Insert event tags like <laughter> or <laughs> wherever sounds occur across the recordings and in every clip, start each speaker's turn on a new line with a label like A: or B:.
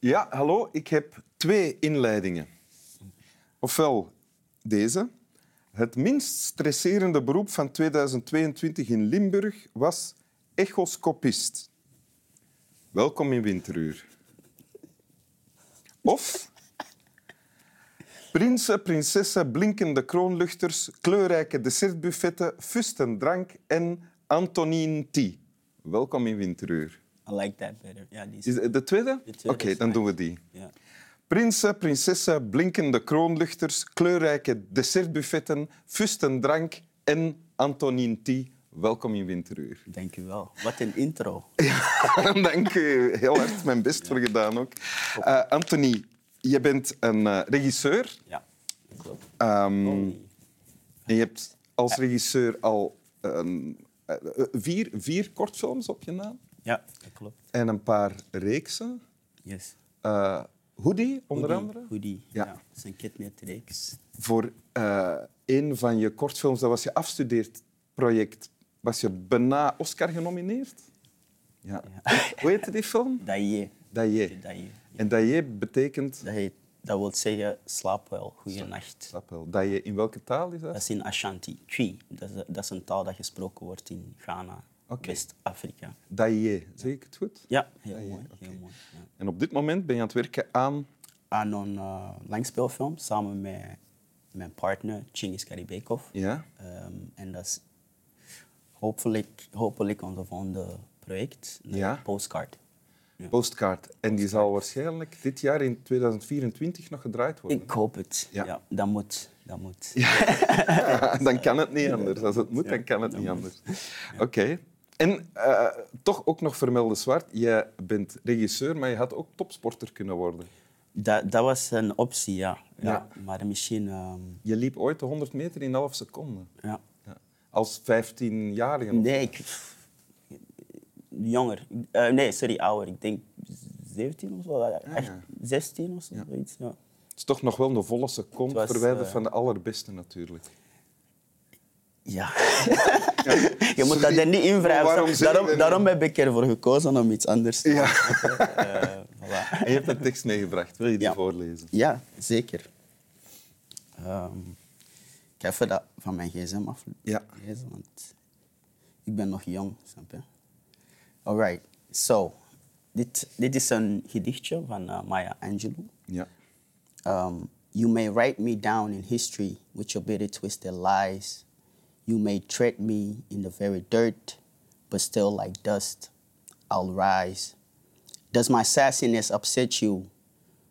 A: Ja, hallo. Ik heb twee inleidingen. Ofwel deze. Het minst stresserende beroep van 2022 in Limburg was echoscopist. Welkom in winteruur. Of prinsen, prinsessen, blinkende kroonluchters, kleurrijke dessertbuffetten, fustendrank en Antonine T. Welkom in winteruur.
B: I like that better. Ja, die is...
A: Is het de tweede? Oké,
B: tweede is
A: dan doen we die.
B: ja.
A: Prinsen, prinsessen, blinkende kroonluchters, kleurrijke dessertbuffetten, fustendrank en Antonine T. Welkom in Winteruur. <laughs>
B: Dank u wel. Wat een intro.
A: Dank u. Heel hard mijn best voor gedaan ook. Eh, Anthony, je bent een eh, regisseur.
B: Ja, dat klopt.
A: Ehm,
B: Tony.
A: en je hebt als regisseur al een- eh, eh, vier, vier kortfilms op je naam.
B: Ja, dat klopt.
A: En een paar reeksen.
B: Yes.
A: Eh, Hoodie, onder
B: Hoodie,
A: andere.
B: Hoodie.
A: Ja.
B: Ja. Dat is een kitnetreeks.
A: voor eh een van je kortfilms, dat was je afstudeerproject, was je bijna Oscar genomineerd. Ja. Hoe heette die film?
B: Dat je.
A: Dat je.
B: Dat je.
A: En dat je betekent...
B: Dat, je- dat wil zeggen, slaap wel, goeienacht.
A: Snap wel. Dat je, in welke taal is
B: Dat
A: dat?
B: is in Ashanti, Chui. Dat is, dat is een taal dat gesproken wordt in Ghana,
A: Oké.
B: West-Afrika.
A: Dat je, zeg ik het goed?
B: Ja, heel mooi. Heel mooi ja.
A: En op dit moment ben je aan het werken aan...
B: Aan een eh, langspeelfilm samen met mijn partner, Chingis Karibekov.
A: Ja?
B: Ehm, en dat is hopelijk, hopelijk onze volgende project, de
A: Ja.
B: postcard. Ja.
A: Postkaart. En die zal waarschijnlijk dit jaar in 2024 nog gedraaid worden.
B: Ik hoop het.
A: Ja.
B: Ja. dat moet. Dat moet.
A: <laughs> dan kan het niet anders. Als het moet, dan kan het niet anders. Oké. En eh, toch ook nog vermelden, Zwart, jij bent regisseur, maar je had ook topsporter kunnen worden.
B: Dat, dat was een optie, ja. ja.
A: Ja.
B: Maar misschien, ehm,
A: Je liep ooit de 100 meter in een half seconde.
B: ja.
A: Ja. Als 15-jarige. nog.
B: Nee, ik... Jonger. Eh, nee, sorry, ouder. Ik denk 17 of zo. Echt 16 of zo, zoiets. Ja.
A: Het is toch nog wel een volle seconde
B: Het was,
A: verwijderd
B: eh,
A: van de allerbeste natuurlijk.
B: Ja. <laughs> je moet dat er niet in
A: maar waarom
B: wrijven.
A: zeg je dat
B: Daarom,
A: niet?
B: daarom heb ik ervoor gekozen om iets anders te
A: Ja. <laughs>
B: Eh, voilà.
A: En je hebt een tekst meegebracht. Wil je die
B: Ja.
A: voorlezen?
B: Ja, zeker. Ehm, ik ga even dat van mijn gsm
A: Ja.
B: aflezen, want ik ben nog jong, snap je? Alright, so, dit, dit is een gedichtje van eh, Maya Angelou.
A: Ja.
B: Um, you may write me down in history with your bitter twisted lies. You may tread me in the very dirt, but still like dust, I'll rise. Does my sassiness upset you?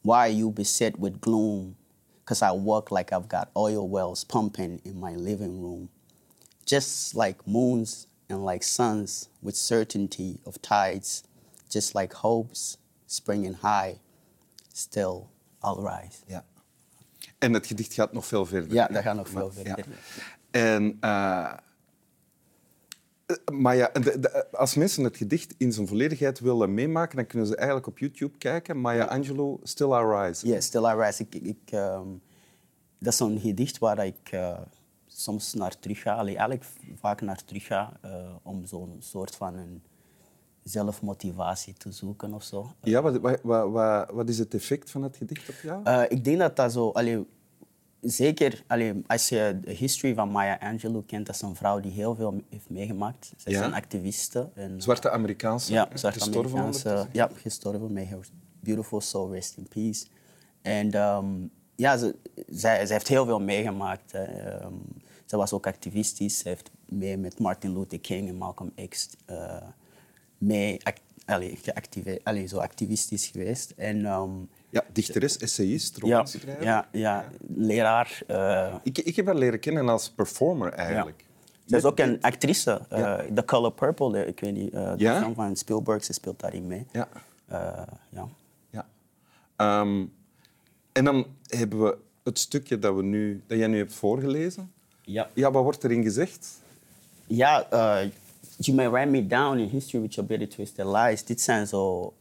B: Why are you beset with gloom? Cause I walk like I've got oil wells pumping in my living room. Just like moons and like suns with certainty of tides, just like hopes springing high, still I'll rise.
A: Ja. En het gedicht gaat nog veel verder.
B: Ja,
A: hè?
B: dat gaat nog
A: Maar-
B: veel verder.
A: En, eh, eh, maar ja, de- de- als mensen het gedicht in zijn volledigheid willen meemaken, dan kunnen ze eigenlijk op YouTube kijken. Maya Angelou, Still Our Rise.
B: Ja, Still I Rise. Ik, ik, ehm, dat is zo'n gedicht waar ik eh, soms naar terug ga. Allee, eigenlijk vaak naar terug ga eh, om zo'n soort van een zelfmotivatie te zoeken of zo.
A: Ja, wat, wat, wat- wat, wat is het effect van het gedicht op jou?
B: Eh, ik denk dat dat zo... Allee, zeker allee, als je de history van Maya Angelou kent, dat is een vrouw die heel veel heeft meegemaakt. Zij
A: Ja.
B: is een activiste. En,
A: Zwarte Amerikaanse,
B: Ja,
A: hè,
B: zwarte
A: gestorven
B: Amerikaanse.
A: ondertussen.
B: Ja, gestorven. May her beautiful soul rest in peace. En ehm, ja, ze, zij, zij heeft heel veel meegemaakt. hè. Ehm, ze was ook activistisch. Ze heeft mee met Martin Luther King en Malcolm X eh, mee act, allee, geactive- allee, zo activistisch geweest. En, ehm,
A: Ja, dichteres, essayist,
B: ja,
A: romanschrijver.
B: ja, ja, leraar. eh,
A: Ik, ik heb haar leren kennen als performer eigenlijk.
B: Ze is ook een actrice. eh, The Color Purple, de- ik weet niet, eh, de
A: Ja?
B: film van Spielberg, ze speelt daarin mee.
A: Ja.
B: Eh, ja.
A: Ja. Ehm, en dan hebben we het stukje dat, we nu, dat jij nu hebt voorgelezen.
B: Ja.
A: Ja, wat wordt erin gezegd?
B: Ja, eh, you may write me down in history with your bitter twisted lies. Dit zijn zo...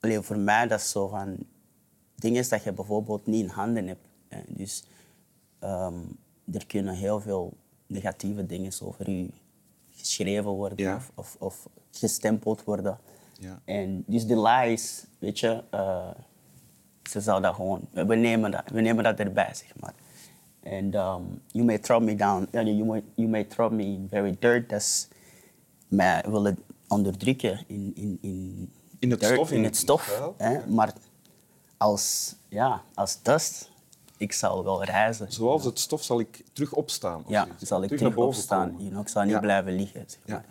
B: Allee, voor mij dat is zo van... Dingen dat je bijvoorbeeld niet in handen hebt. hè. Dus ehm, er kunnen heel veel negatieve dingen over u geschreven worden
A: Ja.
B: of, of, of gestempeld worden.
A: Ja.
B: En dus de lies, weet je, eh, ze zou dat gewoon, we nemen dat, we nemen dat erbij, zeg maar. En um, you may throw me down, eh, you may, you may throw me very dirt, dat is, mij willen onderdrukken in, in, in,
A: In het stof,
B: in,
A: in
B: het
A: het
B: stof
A: vuil,
B: hè? maar als, ja, als dust, ik zal wel reizen.
A: Zoals het stof zal ik terug opstaan. of
B: ja,
A: zoiets.
B: zal ik terug,
A: naar boven
B: opstaan.
A: komen.
B: You know, ik zal niet
A: Ja.
B: blijven liggen. Zeg
A: Ja.
B: maar.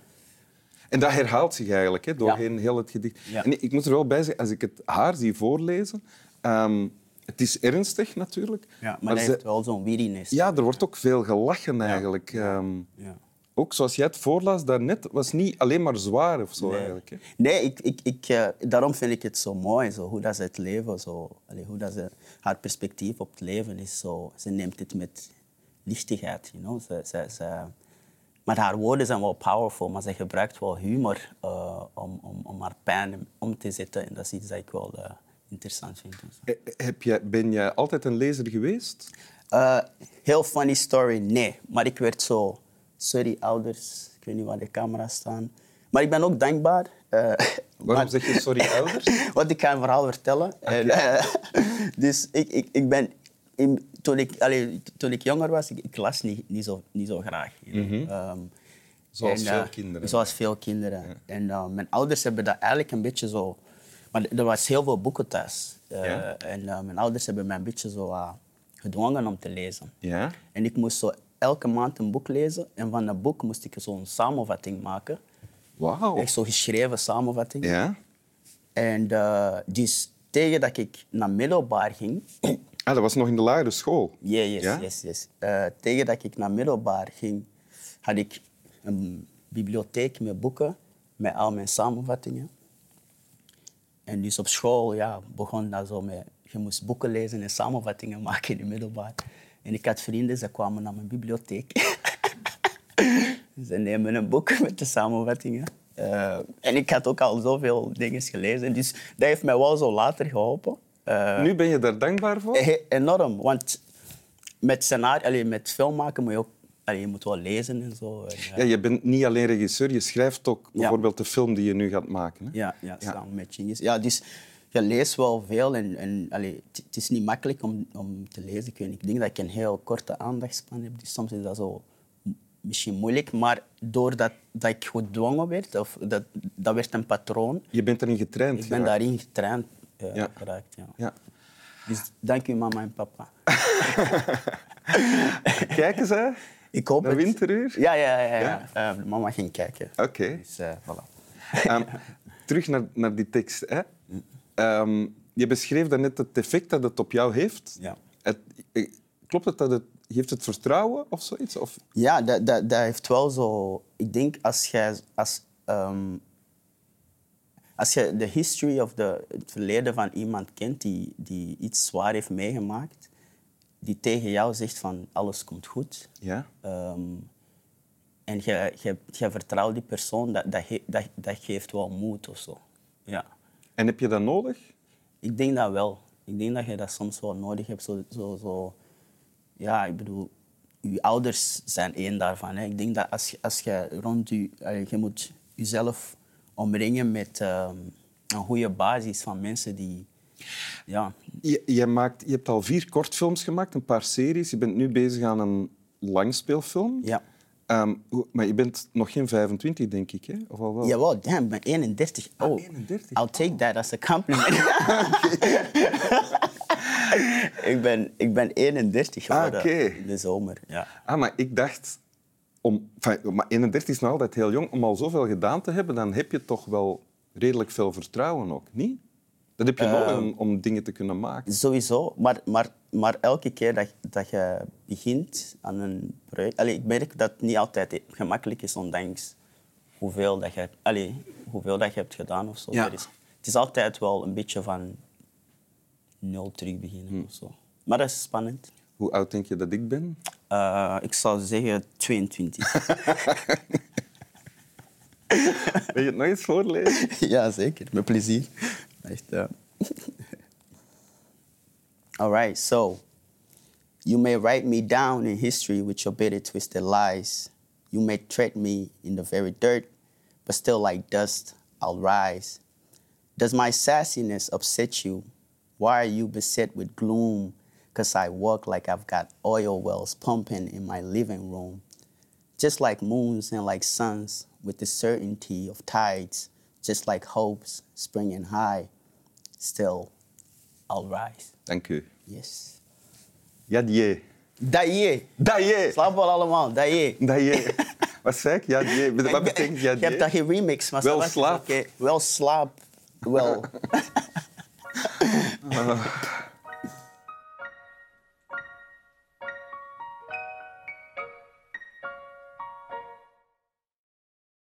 A: En dat herhaalt zich eigenlijk hè, doorheen heel het gedicht.
B: Ja.
A: En ik moet er wel bij zeggen, als ik het haar zie voorlezen, ehm, het is ernstig natuurlijk.
B: Ja, maar, dat
A: ze-
B: heeft wel zo'n weariness.
A: ja, er wordt ook veel gelachen eigenlijk. Ehm,
B: Ja.
A: ook zoals jij het voorlas daarnet, was niet alleen maar zwaar of zo eigenlijk. Hè.
B: Nee, ik, ik, ik, eh, daarom vind ik het zo mooi, zo, hoe dat ze het leven, zo, allee, hoe dat ze, haar perspectief op het leven is. Zo, ze neemt het met lichtigheid. You know? ze, ze, ze, maar haar woorden zijn wel powerful, maar ze gebruikt wel humor eh, om, om, om haar pijn om te zetten. En dat is iets dat ik wel eh, interessant vind. en zo.
A: Eh, eh, Heb jij, ben jij altijd een lezer geweest?
B: Eh, heel funny story, nee. Maar ik werd zo, sorry ouders, ik weet niet waar de camera's staan. Maar ik ben ook dankbaar. eh,
A: <laughs> Waarom zeg je
B: <laughs>
A: sorry, ouders?
B: want ik ga een verhaal vertellen. En, eh, <laughs> dus ik, ik, ik ben... in- toen, ik, allee, toen ik jonger was, ik, ik las niet, niet, zo, niet zo graag. you know. Ehm,
A: Mhm. Zoals veel
B: eh,
A: kinderen.
B: Zoals veel kinderen. En eh, mijn ouders hebben dat eigenlijk een beetje zo... Maar er was heel veel boeken thuis. Eh,
A: Ja.
B: En eh, mijn ouders hebben mij een beetje zo eh, gedwongen om te lezen.
A: Ja.
B: En ik moest zo elke maand een boek lezen. En van dat boek moest ik zo'n samenvatting maken.
A: Wauw.
B: Echt zo'n geschreven samenvatting.
A: Oh. Ja.
B: En eh, dus tegen dat ik naar middelbaar ging...
A: Ah, dat was nog in de lagere school.
B: Ja, yes,
A: Ja?
B: yes, yes. Eh, tegen dat ik naar middelbaar ging, had ik een bibliotheek met boeken, met al mijn samenvattingen. En dus op school ja, begon dat zo met... Je moest boeken lezen en samenvattingen <laughs> maken in het middelbaar. En ik had vrienden, ze kwamen naar mijn bibliotheek. <laughs> ze nemen een boek met de samenvattingen. Eh, en ik had ook al zoveel dingen gelezen. Dus dat heeft mij wel zo later geholpen. Eh,
A: Nu ben je daar dankbaar voor?
B: Eh, Enorm, want met scenario, allee, met film maken moet je ook, allee, je moet wel lezen en zo. En, eh,
A: Ja, je bent niet alleen regisseur, je schrijft ook bijvoorbeeld de film die je nu gaat maken. Hè?
B: ja, ja, samen met Chingis. Ja, dus je leest wel veel en, en allee, het het is niet makkelijk om, om te lezen. Ik, weet niet, ik denk dat ik een heel korte aandachtspan heb, dus soms is dat zo m- misschien moeilijk. Maar doordat dat ik gedwongen werd, of dat, dat werd een patroon,
A: Je bent erin getraind.
B: ik ben
A: geraakt.
B: daarin getraind eh,
A: Ja.
B: geraakt. Ja.
A: Ja.
B: Dus dank u mama
A: <laughs>
B: en papa.
A: Kijken ze?
B: Ik hoop
A: Naar
B: het.
A: winteruur?
B: Ja, ja, ja. ja. Eh, mama ging kijken.
A: Oké.
B: Dus eh, voilà.
A: Ehm, terug naar, naar die tekst. Hè. Ehm, je beschreef daarnet het effect dat het op jou heeft.
B: Ja.
A: Het- eh, klopt het dat het... Geeft het vertrouwen of zoiets? Of,
B: Ja, dat, dat, dat heeft wel zo... Ik denk als jij... Als, ehm, als je de history of de, het verleden van iemand kent die, die iets zwaar heeft meegemaakt, die tegen jou zegt van alles komt goed,
A: ja?
B: ehm, en je, je, je vertrouwt die persoon, dat, dat, ge- dat, dat geeft wel moed of zo. Ja.
A: En heb je dat nodig?
B: Ik denk dat wel. Ik denk dat je dat soms wel nodig hebt. Zo, zo, zo. Ja, ik bedoel, je ouders zijn één daarvan. Hè. Ik denk dat als, je- als je rond je, allee, je moet jezelf omringen met ehm, een goede basis van mensen die. Ja,
A: Je, je maakt, je hebt al vier kortfilms gemaakt, een paar series. Je bent nu bezig aan een langspeelfilm.
B: ja.
A: Ehm, hoe- maar je bent nog geen 25, denk ik, hè? of al wel?
B: Jawel, damn, ik ben 31. Oh,
A: 31.
B: I'll take that as a compliment. <laughs> ik, ben, ik ben 31 geworden
A: oké.
B: in de zomer. Ja.
A: Ah, maar ik dacht... Om, enfin, maar 31 is nog altijd heel jong. Om al zoveel gedaan te hebben, dan heb je toch wel redelijk veel vertrouwen ook, niet? Dat heb je nodig om, om dingen te kunnen maken.
B: Sowieso, maar, maar, maar elke keer dat, dat je begint aan een project... Allee, ik merk dat het niet altijd gemakkelijk is, ondanks hoeveel dat je, hebt- allee, hoeveel dat je hebt gedaan of zo.
A: Ja.
B: Er is, het is altijd wel een beetje van nul terug beginnen of zo. Maar dat is spannend.
A: Hoe oud denk je dat ik ben?
B: Eh, ik zou zeggen 22.
A: Wil je het nog eens voorlezen?
B: <laughs> ja, zeker. Met plezier. Echt, ja. <laughs> All right, so you may write me down in history with your bitter, twisted lies. You may tread me in the very dirt, but still, like dust, I'll rise. Does my sassiness upset you? Why are you beset with gloom? Cause I walk like I've got oil wells pumping in my living room. Just like moons and like suns, with the certainty of tides, just like hopes springing high, still I'll rise.
A: Dank u.
B: Yes.
A: Jadje.
B: Daye.
A: Daje.
B: Slaapbal allemaal, daye.
A: Daje. Wat zei ik? Jadje. Wat betekent
B: Je hebt dat
A: jadje?
B: geremixed, maar
A: Wel
B: Sebastian,
A: slaap.
B: oké, Wel slaap. Wel.